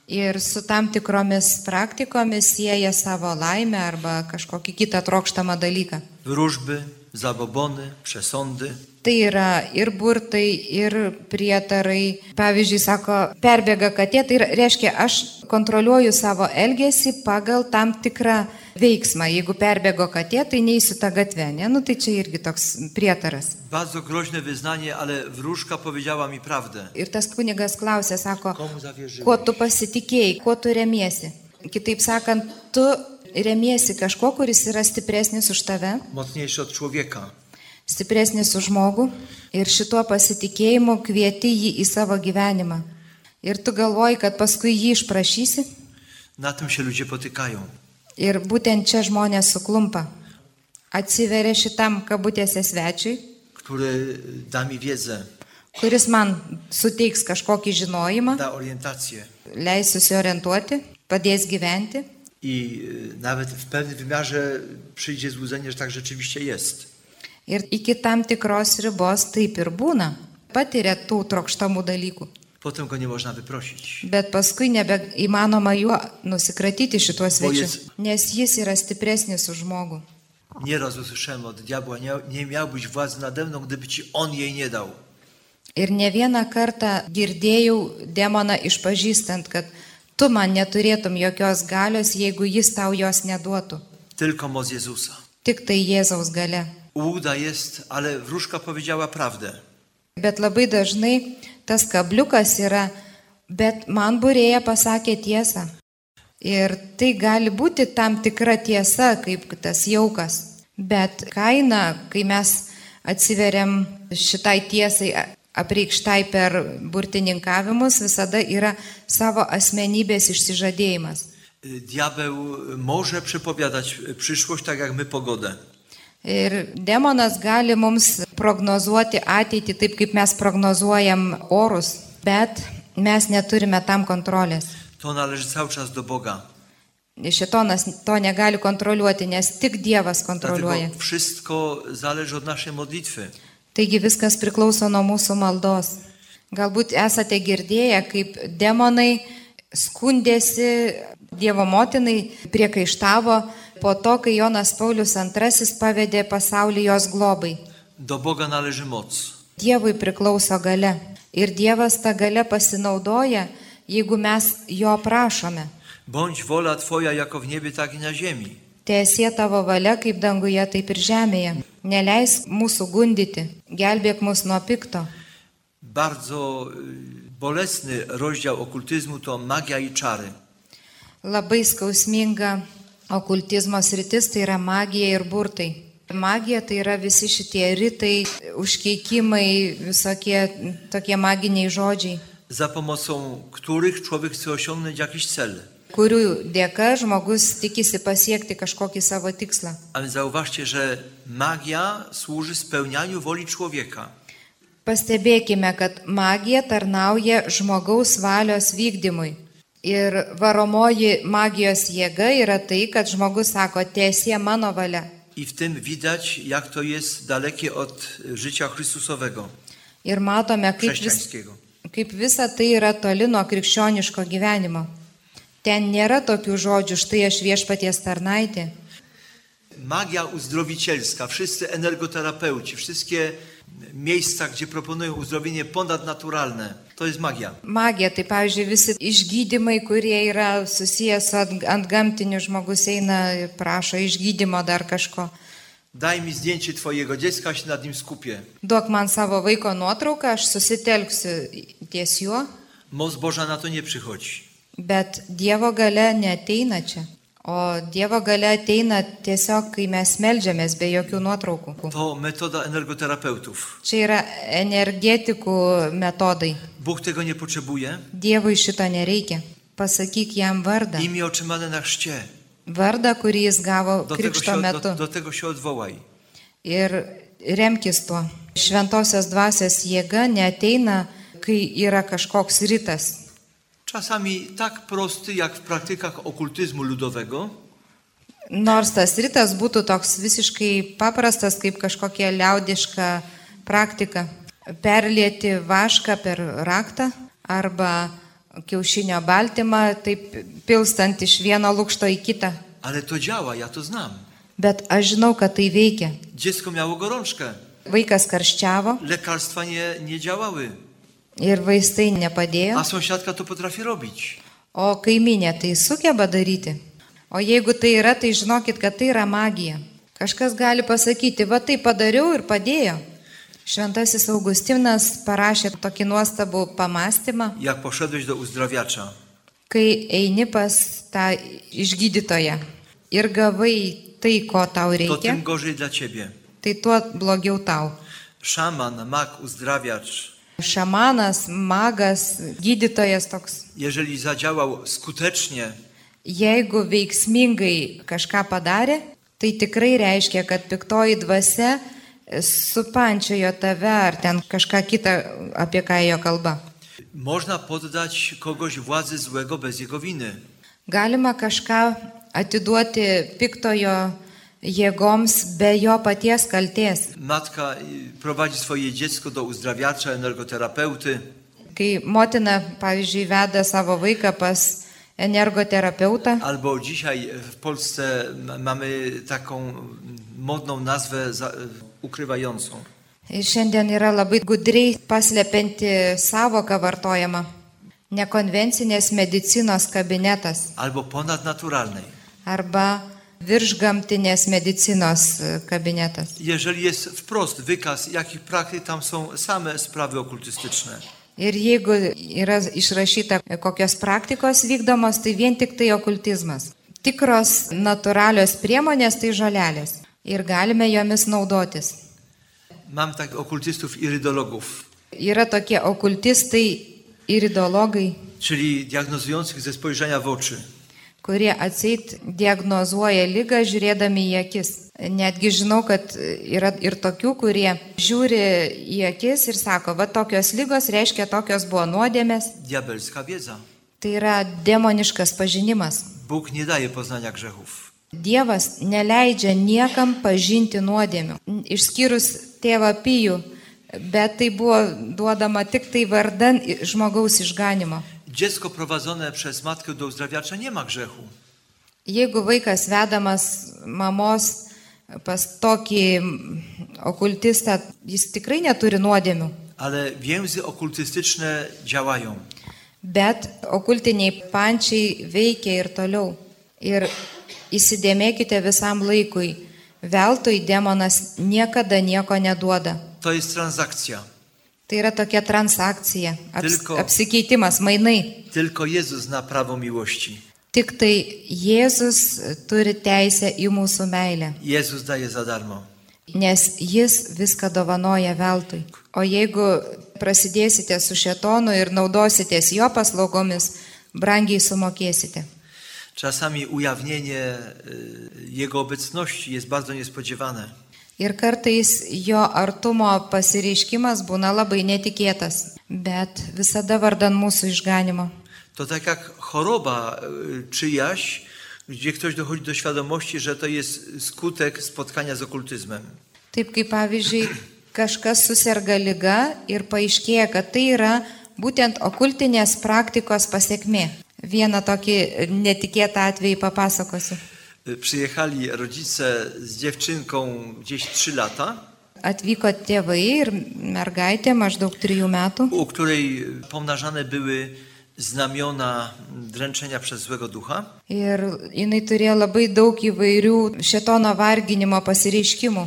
Speaker 3: Ir su tam tikromis praktikomis sieja savo laimę arba kažkokį kitą trokštamą dalyką.
Speaker 2: Wróżby, zabobony, przesądy.
Speaker 3: Tai yra ir burtai, ir prietarai. Pavyzdžiui, sako, perbėga katė, tai yra- reiškia, aš kontroliuoju savo elgesį pagal tam tikrą veiksmą. Jeigu perbėgo katė, tai neįsiu tą gatvę, ne? Nu, tai čia irgi toks prietaras.
Speaker 2: Bardzo groźne wyznanie, ale wróżka powiedziała mi prawdę.
Speaker 3: Ir tas kunigas klausė, sako,
Speaker 2: Komu zawierzyłeś?
Speaker 3: kuo tu pasitikėjai, kuo tu remiesi. Kitaip sakant, tu remiesi kažko, kuris yra stipresnis už tave,
Speaker 2: Mocniejszy od człowieka.
Speaker 3: stipresnis už žmogų ir šituo pasitikėjimu kvieti jį į savo gyvenimą. Ir tu galvoji, kad paskui jį išprašysi
Speaker 2: Na tym się ludzie potykają.
Speaker 3: ir būtent čia žmonės suklumpa. Atsiveria šitam kabutėse svečiui,
Speaker 2: który y, da mi wiedzę,
Speaker 3: kuris man suteiks kažkokį žinojimą,
Speaker 2: da orientację
Speaker 3: leis susiorientuoti, padės gyventi.
Speaker 2: i y, nawet w pewnym wymiarze przyjdzie złudzenie, że tak rzeczywiście jest.
Speaker 3: Ir iki tam tikros ribos taip ir būna. Patiria tų trokštamų dalykų.
Speaker 2: Potem go nie można wyprosić.
Speaker 3: Bet paskui nebeįmanoma juo nusikratyti šituo svečiu,
Speaker 2: jis-
Speaker 3: nes jis yra stipresnis už žmogų.
Speaker 2: Nieraz usłyszałem od diabła, nie, nie miałbyś władzy nade mną, gdyby ci on jej nie dał.
Speaker 3: Ir ne vieną kartą girdėjau demoną išpažįstant, kad tu man neturėtum jokios galios, jeigu jis tau jos neduotų.
Speaker 2: Tylko moc Jezusa.
Speaker 3: Tik tai Jėzaus gale.
Speaker 2: Łuda jest, ale wróżka powiedziała prawdę.
Speaker 3: Bet labai dažnai tas kabliukas yra, bet man būrėja pasakė tiesą. Ir tai gali būti tam tikra tiesa, kaip tas jaukas. Bet kaina, kai mes atsiveriam šitai tiesai a- apreikštai per burtininkavimus, visada yra savo asmenybės išsižadėjimas.
Speaker 2: Y, Diabeł może przepowiadać y, przyszłość tak jak my pogodę.
Speaker 3: Ir demonas gali mums prognozuoti ateitį taip, kaip mes prognozuojam orus, bet mes neturime tam kontrolės.
Speaker 2: To należy cały czas do Boga.
Speaker 3: Šitonas to negali kontroliuoti, nes tik Dievas
Speaker 2: Dlatego
Speaker 3: kontroliuoja.
Speaker 2: wszystko zależy od naszej modlitwy.
Speaker 3: Taigi viskas priklauso nuo mūsų maldos. Galbūt esate girdėję, kaip demonai skundėsi Dievo motinai, priekaištavo po to, kai Jonas Paulius II pavedė pasaulį jos globai.
Speaker 2: Do Boga należy moc.
Speaker 3: Dievui priklauso gale. Ir Dievas tą gale pasinaudoja, jeigu mes jo prašome.
Speaker 2: Bądź wola Twoja jako w niebie, tak i na ziemi.
Speaker 3: Tiesie tavo valia kaip danguje, taip ir žemėje. Neleis mūsų gundyti, gelbėk mus nuo pikto.
Speaker 2: Bardzo y, bolesny rozdział okultyzmu to magia i czary.
Speaker 3: Labai skausminga okultizmo sritis tai yra magija ir burtai. Magija tai yra visi šitie ritai, užkeikimai, visokie tokie maginiai žodžiai,
Speaker 2: Za pomocą których człowiek chce osiągnąć jakiś cel.
Speaker 3: kurių dėka žmogus tikisi pasiekti kažkokį savo tikslą.
Speaker 2: Ale zauważcie, że magia służy spełnianiu woli człowieka.
Speaker 3: Pastebėkime, kad magija tarnauja žmogaus valios vykdymui. Ir varomoji magijos jėga yra tai, kad žmogus sako, tiesie mano valia.
Speaker 2: I w tym widać, jak to jest dalekie od życia Chrystusowego,
Speaker 3: Ir matome, kaip, vis,
Speaker 2: chrześcijańskiego.
Speaker 3: kaip visa tai yra toli nuo krikščioniško gyvenimo. Ten nėra tokių žodžių, štai aš viešpaties tarnaitė.
Speaker 2: Magia uzdrowicielska, wszyscy energoterapeuci, wszystkie miejsca, gdzie proponują uzdrowienie ponadnaturalne, to jest magia.
Speaker 3: Magija, tai pavyzdžiui, visi išgydymai, kurie yra susijęs su ant- antgamtiniu žmogus eina ir prašo išgydymo dar kažko.
Speaker 2: Daj mi zdjęcie twojego dziecka, ja się nad nim skupię.
Speaker 3: Duok man savo vaiko nuotrauką, aš susitelksiu ties juo,
Speaker 2: Moc Boża na to nie przychodzi.
Speaker 3: bet Dievo gale neteina čia. O Dievo gale ateina tiesiog, kai mes melžiamės be jokių nuotraukų.
Speaker 2: To metoda energoterapeutów.
Speaker 3: Čia yra energetikų metodai.
Speaker 2: Bóg tego nie potrzebuje.
Speaker 3: Dievui šito nereikia. Pasakyk jam vardą.
Speaker 2: Imię otrzymane na chrzcie.
Speaker 3: Vardą, kurį jis gavo
Speaker 2: Do tego,
Speaker 3: krikšto
Speaker 2: się, do,
Speaker 3: metu.
Speaker 2: do tego się odwołaj.
Speaker 3: Ir remkis tuo. Šventosios dvasios jėga neteina, kai yra kažkoks rytas.
Speaker 2: Czasami tak prosty jak w praktykach okultyzmu ludowego,
Speaker 3: Nors tas rytas būtų toks visiškai paprastas, kaip kažkokia liaudiška praktika. Perlėti vašką per raktą arba kiaušinio baltymą, taip pilstant iš vieno lūkšto į kitą.
Speaker 2: ale to działa, ja to znam.
Speaker 3: Bet aš žinau, kad tai veikia.
Speaker 2: Dziecko miało gorączkę,
Speaker 3: Vaikas karščiavo
Speaker 2: lekarstwa nie, nie działały,
Speaker 3: ir vaistai nepadėjo,
Speaker 2: a sąsiadka to potrafi robić.
Speaker 3: o kaiminė tai sugeba daryti. O jeigu tai yra, tai žinokit, kad tai yra magija. Kažkas gali pasakyti, va tai padariau ir padėjo. Šventasis Augustinas parašė tokį nuostabų pamastymą,
Speaker 2: Jak poszedłeś do uzdrawiacza,
Speaker 3: kai eini pas tą išgydytoją ir gavai tai, ko tau
Speaker 2: to
Speaker 3: reikia,
Speaker 2: tym gorzej dla ciebie.
Speaker 3: tai tuo blogiau tau.
Speaker 2: Szaman, mak, uzdrawiacz,
Speaker 3: Šamanas, magas, gydytojas toks
Speaker 2: jeżeli zadziałał skutecznie,
Speaker 3: Jeigu veiksmingai kažką padarė, tai tikrai reiškia, kad piktoji dvasia e, supančiojo tave ar ten kažką kitą, apie ką jo kalba.
Speaker 2: można poddać kogoś władzy złego bez jego winy.
Speaker 3: Galima kažką atiduoti piktojo jėgoms be jo paties kalties.
Speaker 2: Matka y, prowadzi swoje dziecko do uzdrawiacza, energoterapeuty.
Speaker 3: Kai motina, pavyzdžiui, veda savo vaiką pas energoterapeutą,
Speaker 2: Albo dzisiaj w Polsce m- mamy taką modną nazwę za, ukrywającą.
Speaker 3: Ir šiandien yra labai gudriai paslepianti savoka vartojama. Nekonvencinės medicinos kabinetas
Speaker 2: Albo ponadnaturalnej.
Speaker 3: arba viršgamtinės medicinos e, kabinetas.
Speaker 2: Jeżeli jest wprost wykaz, jakich praktyk, tam są same sprawy okultystyczne.
Speaker 3: Ir jeigu yra išrašyta, kokios praktikos vykdomos, tai vien tik tai okultizmas. Tikros natūralios priemonės tai žolelės. Ir galime jomis naudotis.
Speaker 2: Mam tak okultystów irydologów,
Speaker 3: Yra tokie okultistai ir ideologai,
Speaker 2: czyli diagnozujących ze spojrzenia w oczy.
Speaker 3: kurie atseit diagnozuoja lygą žiūrėdami į akis. Netgi žinau, kad yra ir tokių, kurie žiūri į akis ir sako, va tokios lygos reiškia tokios buvo nuodėmės.
Speaker 2: Diabelska wiedza.
Speaker 3: Tai yra demoniškas pažinimas.
Speaker 2: Bóg nie daje poznania grzechów.
Speaker 3: Dievas neleidžia niekam pažinti nuodėmių, išskyrus tėvą pijų, bet tai buvo duodama tik tai vardan žmogaus išganimo.
Speaker 2: Dziecko prowadzone przez matkę do uzdrawiacza nie ma grzechu.
Speaker 3: Jeigu vaikas vedamas mamos pas tokį okultistą, jis tikrai neturi nuodėmių,
Speaker 2: Ale więzy okultystyczne działają.
Speaker 3: bet okultiniai pančiai veikia ir toliau. Ir įsidėmėkite visam laikui, veltui demonas niekada nieko neduoda.
Speaker 2: To jest transakcja.
Speaker 3: Tai yra tokia transakcija, aps,
Speaker 2: Tylko-
Speaker 3: apsikeitimas, mainai.
Speaker 2: Tylko Jezus zna prawo miłości.
Speaker 3: Tik tai Jėzus turi teisę į mūsų meilę.
Speaker 2: Jezus daje za darmo.
Speaker 3: nes jis viską dovanoja veltui. O jeigu prasidėsite su šetonu ir naudositės jo paslaugomis, brangiai sumokėsite.
Speaker 2: Czasami ujawnienie y, Jego obecności jest bardzo niespodziewane.
Speaker 3: Ir kartais jo artumo pasireiškimas būna labai netikėtas, bet visada vardan mūsų išganimo.
Speaker 2: To tak jak choroba y, czyjaś, gdzie ktoś dochodzi do świadomości, że to jest skutek spotkania z okultyzmem.
Speaker 3: Taip kaip pavyzdžiui, kažkas susirga lyga ir paaiškėja, kad tai yra būtent okultinės praktikos pasiekmė. Vieną tokį netikėtą atvejį papasakosiu.
Speaker 2: Y, Przyjechali rodzice z dziewczynką gdzieś 3 lata,
Speaker 3: Atvyko tėvai ir mergaitė maždaug trijų metų,
Speaker 2: u której pomnażane były znamiona dręczenia przez złego ducha.
Speaker 3: ir jinai turėjo labai daug įvairių šetono varginimo pasireiškimų.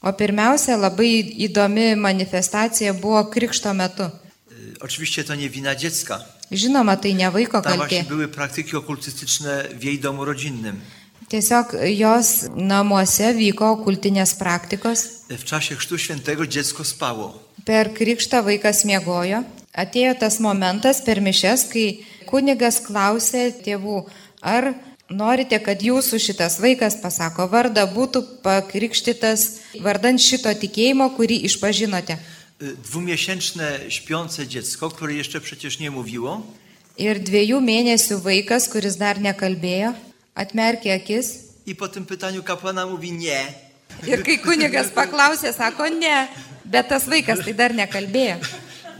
Speaker 3: O pirmiausia, labai įdomi manifestacija buvo krikšto metu.
Speaker 2: Y, Oczywiście to nie wina dziecka.
Speaker 3: Žinoma, tai ne vaiko
Speaker 2: Tam właśnie
Speaker 3: kaltė.
Speaker 2: były praktyki okultystyczne w jej domu rodzinnym.
Speaker 3: Tiesiog jos namuose vyko kultinės praktikos.
Speaker 2: Y, W czasie Chrztu Świętego dziecko spało.
Speaker 3: Per krikštą vaikas miegojo. Atėjo tas momentas per mišes, kai kunigas klausė tėvų, ar norite, kad jūsų šitas vaikas, pasako vardą, būtų pakrikštytas vardant šito tikėjimo, kurį išpažinote.
Speaker 2: Y, Dwumiesięczne śpiące dziecko, które jeszcze przecież nie mówiło,
Speaker 3: Ir dviejų mėnesių vaikas, kuris dar nekalbėjo, atmerkė akis.
Speaker 2: i po tym pytaniu kapłana mówi nie.
Speaker 3: Ir kai kunigas paklausė, sako ne, bet tas vaikas tai dar nekalbėjo.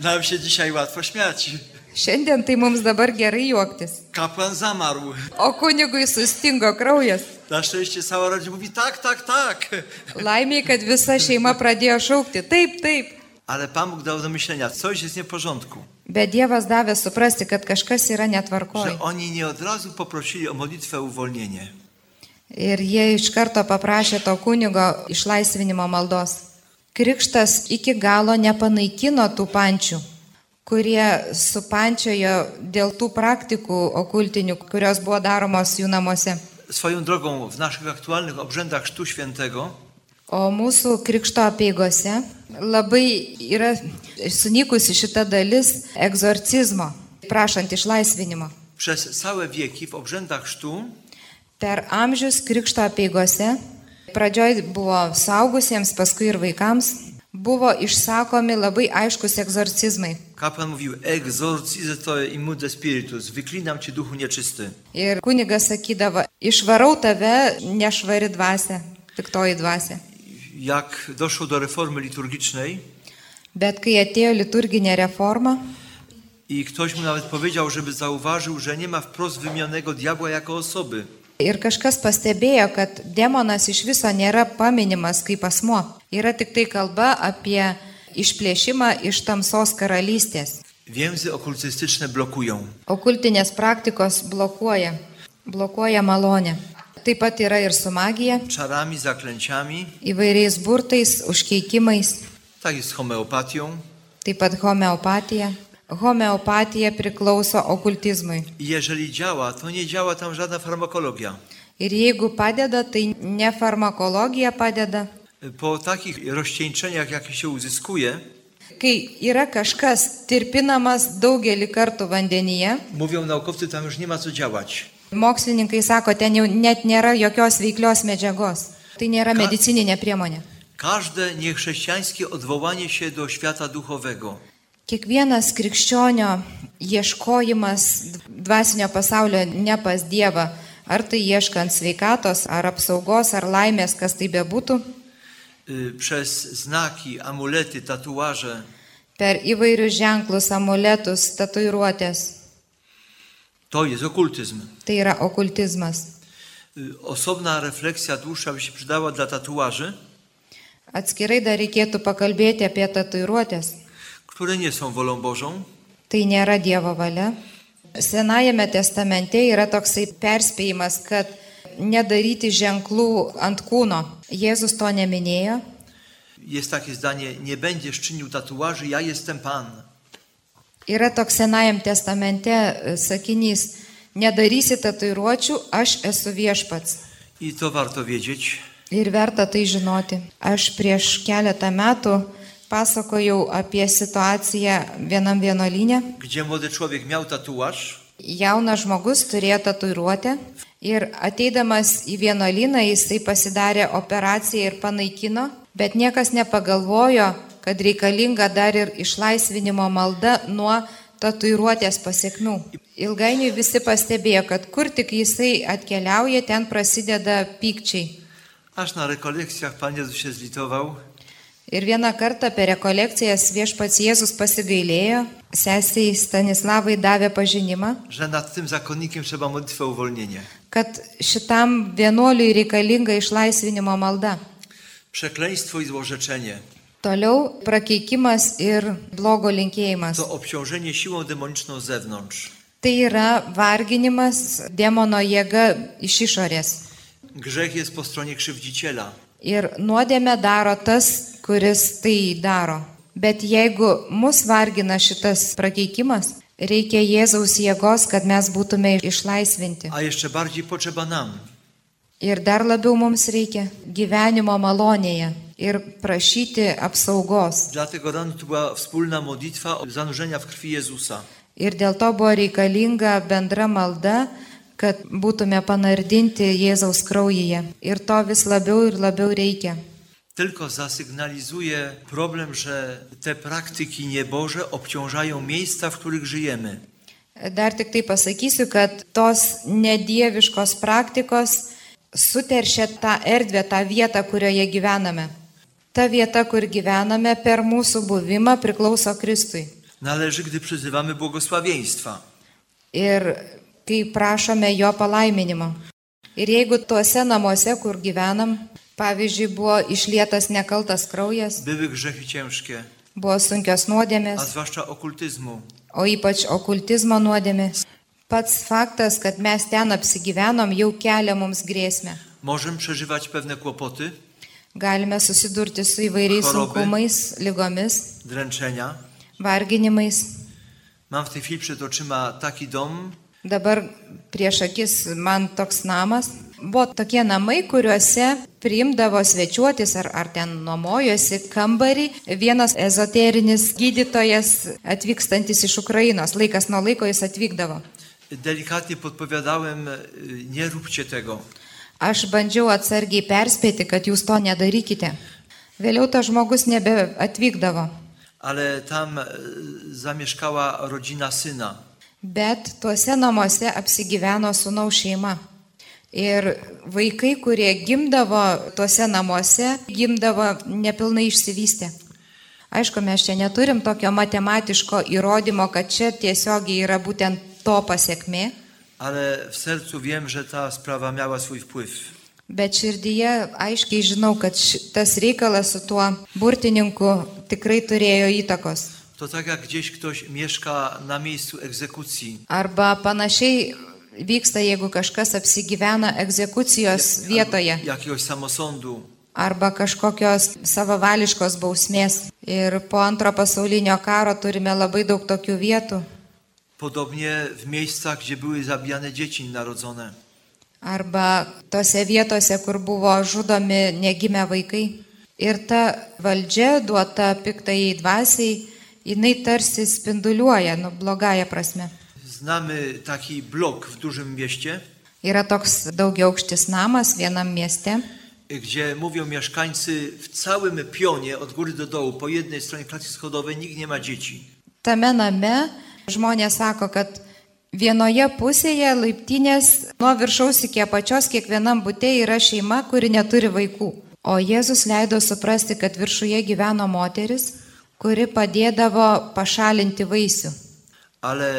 Speaker 2: Nam się dzisiaj łatwo śmiać.
Speaker 3: Šiandien tai mums dabar gerai juoktis.
Speaker 2: Kapłan zamarł.
Speaker 3: O kunigui sustingo kraujas.
Speaker 2: Na szczęście cała rodzina mówi tak, tak, tak.
Speaker 3: Laimiai, kad visa šeima pradėjo šaukti, taip, taip.
Speaker 2: Ale Pan Bóg dał do myślenia, coś jest nie w porządku.
Speaker 3: Bet Dievas davė suprasti, kad kažkas yra netvarkoj.
Speaker 2: Że oni nie od razu poprosili o modlitwę o uwolnienie.
Speaker 3: Ir jie iš karto paprašė to kunigo išlaisvinimo maldos. Krikštas iki galo nepanaikino tų pančių, kurie supančiojo dėl tų praktikų okultinių, kurios buvo daromos jų namuose.
Speaker 2: Swoją drogą w naszych aktualnych obrzędach Chrztu Świętego
Speaker 3: O mūsų krikšto apieigose labai yra sunykusi šita dalis egzorcizmo, prašant išlaisvinimo.
Speaker 2: przez całe wieki w obrzędach Chrztu
Speaker 3: Per amžius krikšto apieigose, pradžioj buvo suaugusiems, paskui ir vaikams, buvo išsakomi labai aiškus egzorcizmai.
Speaker 2: kapłan mówił exorcize to immude spiritus, wyklinam Cię duchu nieczysty.
Speaker 3: Ir kunigas sakydavo, išvarau tave nešvari dvasia, piktoji dvasia.
Speaker 2: Jak doszło do reformy liturgicznej
Speaker 3: Bet kai atėjo liturginė reforma,
Speaker 2: i ktoś mu nawet powiedział, żeby zauważył, że nie ma wprost wymienionego diabła jako osoby.
Speaker 3: Ir kažkas pastebėjo, kad demonas iš viso nėra paminimas kaip asmo. Yra tik tai kalba apie išplėšimą iš tamsos karalystės.
Speaker 2: Więzy okultystyczne blokują.
Speaker 3: Okultinės praktikos blokuoja, blokuoja malonę. Taip pat yra ir su magija,
Speaker 2: Czarami, zaklęciami,
Speaker 3: įvairiais burtais, užkeikimais,
Speaker 2: tak jest z homeopatią.
Speaker 3: taip pat homeopatija. Homeopatija priklauso okultizmui.
Speaker 2: I jeżeli działa, to nie działa tam żadna farmakologia.
Speaker 3: Ir jeigu padeda, tai ne farmakologija padeda,
Speaker 2: Po takich rozcieńczeniach, jakie się uzyskuje,
Speaker 3: Kai yra kažkas tirpinamas daugelį kartų vandenyje,
Speaker 2: mówią naukowcy, tam już nie ma co działać.
Speaker 3: mokslininkai sako, ten jau net nėra jokios veiklios medžiagos. Tai nėra
Speaker 2: Ką-
Speaker 3: medicininė priemonė.
Speaker 2: Każde niechrześcijańskie odwołanie się do świata duchowego,
Speaker 3: Kiekvienas krikščionio ieškojimas dvasinio pasaulio ne pas Dievą, ar tai ieškant sveikatos, ar apsaugos, ar laimės, kas tai bebūtų,
Speaker 2: y, przez znaki, amulety, tatuaże,
Speaker 3: per įvairius ženklus, amuletus, tatuiruotės,
Speaker 2: to jest okultyzm.
Speaker 3: tai yra okultizmas.
Speaker 2: Y, Osobna refleksja dłuższa by się przydała dla tatuaży,
Speaker 3: Atskirai dar reikėtų pakalbėti apie tatuiruotės.
Speaker 2: które nie są wolą Bożą,
Speaker 3: Tai nėra Dievo valia. Senajame testamente yra toksai perspėjimas, kad nedaryti ženklų ant kūno. Jėzus to neminėjo.
Speaker 2: Jest takie zdanie, nie będziesz czynił tatuaży, ja jestem Pan.
Speaker 3: Yra toks Senajam testamente e, sakinys, nedarysi tatuiruočių, aš esu viešpats.
Speaker 2: I to warto wiedzieć.
Speaker 3: Ir verta tai žinoti. Aš prieš keletą metų pasakojau apie situaciją vienam vienolyne.
Speaker 2: Gdzie młody człowiek miał tatuaż,
Speaker 3: Jaunas žmogus turėjo tatuiruotę ir ateidamas į vienuolyną jisai pasidarė operaciją ir panaikino, bet niekas nepagalvojo, kad reikalinga dar ir išlaisvinimo malda nuo tatuiruotės pasiekmių. Ilgainiui visi pastebėjo, kad kur tik jisai atkeliauja, ten prasideda pykčiai.
Speaker 2: aż na rekolekcjach Pan Jezus się zlitował
Speaker 3: Ir vieną kartą per rekolekcijas viešpats Jėzus pasigailėjo, sesiai Stanislavai davė pažinimą.
Speaker 2: że nad tym zakonnikiem trzeba modlitwę o uwolnienie.
Speaker 3: kad šitam vienuoliui reikalinga išlaisvinimo malda.
Speaker 2: Przekleństwo i złorzeczenie
Speaker 3: Toliau prakeikimas ir blogo linkėjimas.
Speaker 2: to obciążenie siłą demoniczną z zewnątrz.
Speaker 3: Tai yra varginimas demono jėga iš išorės.
Speaker 2: Grzech jest po stronie krzywdziciela.
Speaker 3: Ir nuodėme daro tas, kuris tai daro. Bet jeigu mus vargina šitas prakeikimas, Reikia Jėzaus jėgos, kad mes būtume išlaisvinti.
Speaker 2: a jeszcze bardziej potrzeba nam.
Speaker 3: Ir dar labiau mums reikia gyvenimo malonėje ir prašyti apsaugos.
Speaker 2: Dlatego rano to była wspólna modlitwa o zanurzenia w krwi Jezusa.
Speaker 3: Ir dėl to buvo reikalinga bendra malda, kad būtume panardinti Jėzaus kraujyje. Ir to vis labiau ir labiau reikia.
Speaker 2: Tylko zasygnalizuje problem, że te praktyki nieboże obciążają miejsca, w których żyjemy.
Speaker 3: Dar tik tai pasakysiu, kad tos nedieviškos praktikos suteršia tą erdvę, tą vietą, kurioje gyvename. Ta vieta, kur gyvename, per mūsų buvimą priklauso Kristui.
Speaker 2: Należy, gdy przyzywamy błogosławieństwa.
Speaker 3: Ir kai prašome jo palaiminimo. Ir jeigu tuose namuose, kur gyvenam, pavyzdžiui, buvo išlietas nekaltas kraujas,
Speaker 2: Były grzechy ciężkie,
Speaker 3: buvo sunkios
Speaker 2: a
Speaker 3: nuodėmės,
Speaker 2: zwłaszcza okultyzmu.
Speaker 3: o ypač okultizmo nuodėmės, pats faktas, kad mes ten apsigyvenom, jau kelia mums grėsmę.
Speaker 2: Możemy przeżywać pewne kłopoty,
Speaker 3: Galime susidurti su įvairiais
Speaker 2: Chorobai.
Speaker 3: sunkumais, lygomis,
Speaker 2: dręczenia.
Speaker 3: varginimais.
Speaker 2: Mam w tej chwili przed oczyma taki dom,
Speaker 3: Dabar prieš akis man toks namas. Buvo tokie namai, kuriuose priimdavo svečiuotis ar, ar ten nuomojosi kambarį. Vienas ezoterinis gydytojas atvykstantis iš Ukrainos, laikas nuo laiko jis atvykdavo.
Speaker 2: delikatnie podpowiadałem, y, nie róbcie tego.
Speaker 3: Aš bandžiau atsargiai perspėti, kad jūs to nedarykite. Vėliau tas žmogus nebeatvykdavo.
Speaker 2: Ale tam y, zamieszkała rodzina syna.
Speaker 3: Bet tuose namuose apsigyveno sunaus šeima. Ir vaikai, kurie gimdavo tuose namuose, gimdavo nepilnai išsivystę. Aišku, mes čia neturim tokio matematiško įrodymo, kad čia tiesiogiai yra būtent to pasiekmė,
Speaker 2: Ale w sercu wiem, że ta sprawa miała swój wpływ.
Speaker 3: bet širdyje aiškiai žinau, kad ši- tas reikalas su tuo burtininku tikrai turėjo įtakos.
Speaker 2: To tak jak gdzieś ktoś mieszka na miejscu egzekucji,
Speaker 3: Arba panašiai vyksta, jeigu kažkas apsigyvena egzekucijos vietoje.
Speaker 2: jakiegoś samosądu.
Speaker 3: arba kažkokios savavališkos bausmės. Ir po antro pasaulinio karo turime labai daug tokių vietų.
Speaker 2: Podobnie w miejscach, gdzie były zabijane dzieci narodzone.
Speaker 3: Arba tose vietose, kur buvo žudomi negimę vaikai. Ir ta valdžia duota piktai dvasiai, jinai tarsi spinduliuoja, nu, blogąją prasme.
Speaker 2: Znamy taki blok w dużym mieście,
Speaker 3: Yra toks daugiaaukštis namas vienam mieste,
Speaker 2: gdzie mówią mieszkańcy w całym pionie, od góry do dołu, po jednej stronie klatki schodowej nikt nie ma dzieci.
Speaker 3: Tame name žmonės sako, kad vienoje pusėje laiptinės nuo viršaus iki apačios kiekvienam būte yra šeima, kuri neturi vaikų. O Jėzus leido suprasti, kad viršuje gyveno moteris, kuri padėdavo pašalinti vaisių.
Speaker 2: Ale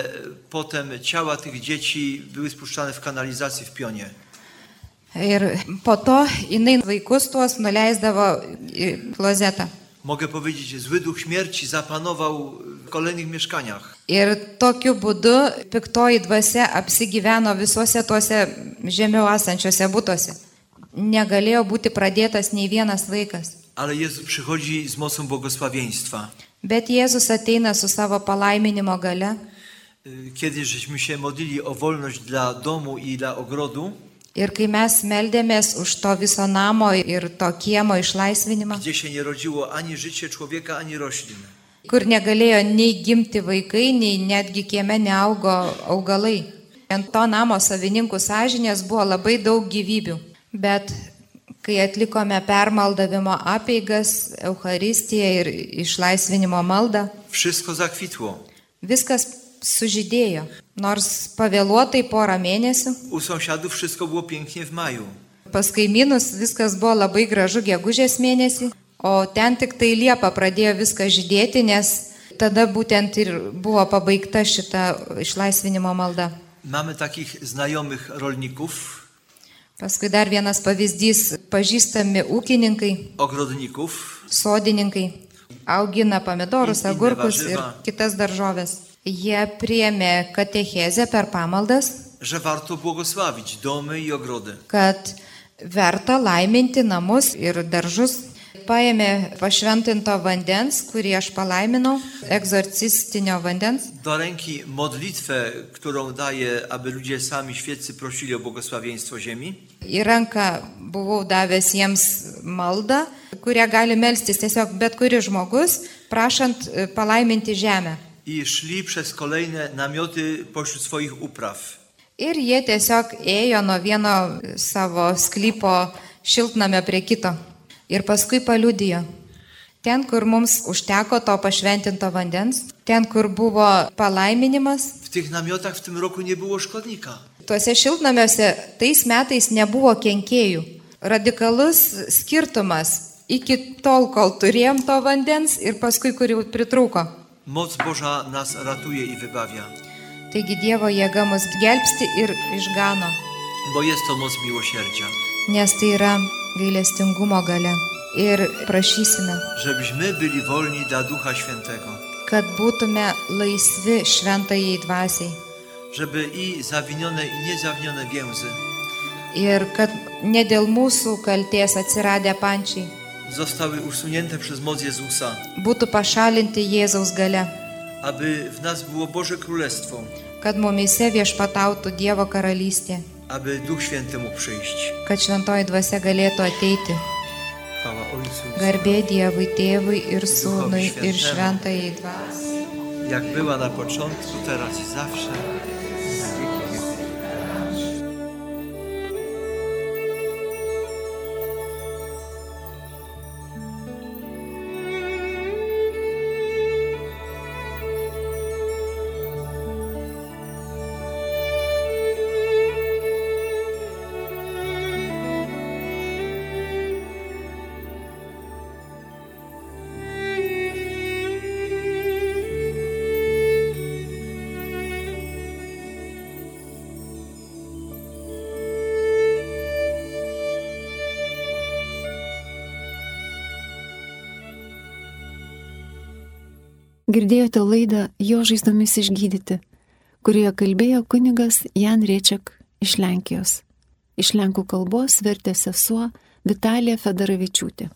Speaker 2: potem ciała tych dzieci były spuszczane w kanalizacji w pionie.
Speaker 3: Ir po to jinai vaikus tuos nuleisdavo į klozetą.
Speaker 2: Mogę powiedzieć, że zły duch śmierci zapanował w kolejnych mieszkaniach.
Speaker 3: Ir tokiu būdu piktoji dvasia apsigyveno visuose tuose žemiau esančiuose būtuose. Negalėjo būti pradėtas nei vienas vaikas.
Speaker 2: Ale Jezus przychodzi z mocą błogosławieństwa.
Speaker 3: Bet Jėzus ateina su savo palaiminimo gale.
Speaker 2: Y, Kiedy żeśmy się modlili o wolność dla domu i dla ogrodu,
Speaker 3: Ir kai mes meldėmės už to viso namo ir to kiemo išlaisvinimą,
Speaker 2: gdzie się nie rodziło ani życie człowieka, ani roślin,
Speaker 3: kur negalėjo nei gimti vaikai, nei netgi kieme neaugo augalai. Ant to namo savininkų sąžinės buvo labai daug gyvybių. Bet kai atlikome permaldavimo apeigas, Euharistiją ir išlaisvinimo maldą,
Speaker 2: wszystko zakwitło.
Speaker 3: viskas sužydėjo. Nors pavėluotai porą mėnesių,
Speaker 2: U sąsiadów wszystko było pięknie w maju.
Speaker 3: pas kaimynus viskas buvo labai gražu gegužės mėnesį, o ten tik tai Liepa pradėjo viskas žydėti, nes tada būtent ir buvo pabaigta šita išlaisvinimo malda.
Speaker 2: Mamy takich znajomych rolników,
Speaker 3: Paskui dar vienas pavyzdys - pažįstami ūkininkai,
Speaker 2: ogrodników.
Speaker 3: sodininkai, augina pomidorus,
Speaker 2: Ir- ir
Speaker 3: agurkus ir
Speaker 2: nevaržyva.
Speaker 3: kitas daržovės. Jie priemė katechezę per pamaldas,
Speaker 2: że warto błogosławić domy i ogrody.
Speaker 3: kad verta laiminti namus ir daržus. Paėmė pašventinto vandens, kurį aš palaiminau, egzorcistinio vandens,
Speaker 2: do ręki modlitwę, którą daje, aby ludzie sami świeccy prosili o błogosławieństwo ziemi.
Speaker 3: į ranką buvau davęs jiems maldą, kurią gali melstis tiesiog bet kuris žmogus, prašant e, palaiminti žemę.
Speaker 2: I szli przez kolejne namioty pośród swoich upraw.
Speaker 3: Ir jie tiesiog ėjo nuo vieno savo sklypo šiltname prie kito. Ir paskui paliudijo. Ten, kur mums užteko to pašventinto vandens, ten, kur buvo palaiminimas,
Speaker 2: W tych namiotach w tym roku nie było szkodnika.
Speaker 3: tuose šiltnamiuose tais metais nebuvo kenkėjų. Radikalus skirtumas iki tol, kol turėjom to vandens ir paskui, kur jau pritrūko.
Speaker 2: Moc Boża nas ratuje i wybawia,
Speaker 3: Taigi Dievo jėga mus gelbsti ir išgano,
Speaker 2: bo jest to moc miłosierdzia.
Speaker 3: nes tai yra gailestingumo gale. Ir prašysime,
Speaker 2: Żebyśmy byli wolni dla Ducha Świętego,
Speaker 3: kad būtume laisvi šventajai dvasiai.
Speaker 2: żeby i zawinione i niezawinione więzy
Speaker 3: Ir kad ne dėl mūsų kalties atsiradę pančiai
Speaker 2: zostały usunięte przez moc Jezusa,
Speaker 3: būtų pašalinti Jėzaus gale,
Speaker 2: aby w nas było Boże Królestwo,
Speaker 3: kad mumise viešpatautų Dievo karalystė.
Speaker 2: aby Duch Święty mógł przyjść.
Speaker 3: kad šventoji dvasia galėtų ateiti.
Speaker 2: Chwała Ojcu, i Synu,
Speaker 3: Garbė Dievui, Tėvui ir Sūnui ir Šventajai Dvasiai.
Speaker 2: jak była na początku, teraz i zawsze. na wieki wieków.
Speaker 1: Girdėjote laidą Jo žaizdomis išgydyti, kurioje kalbėjo kunigas Jan Riečiak iš Lenkijos. Iš lenkų kalbos vertė sesuo Vitalija Federavičiūtė.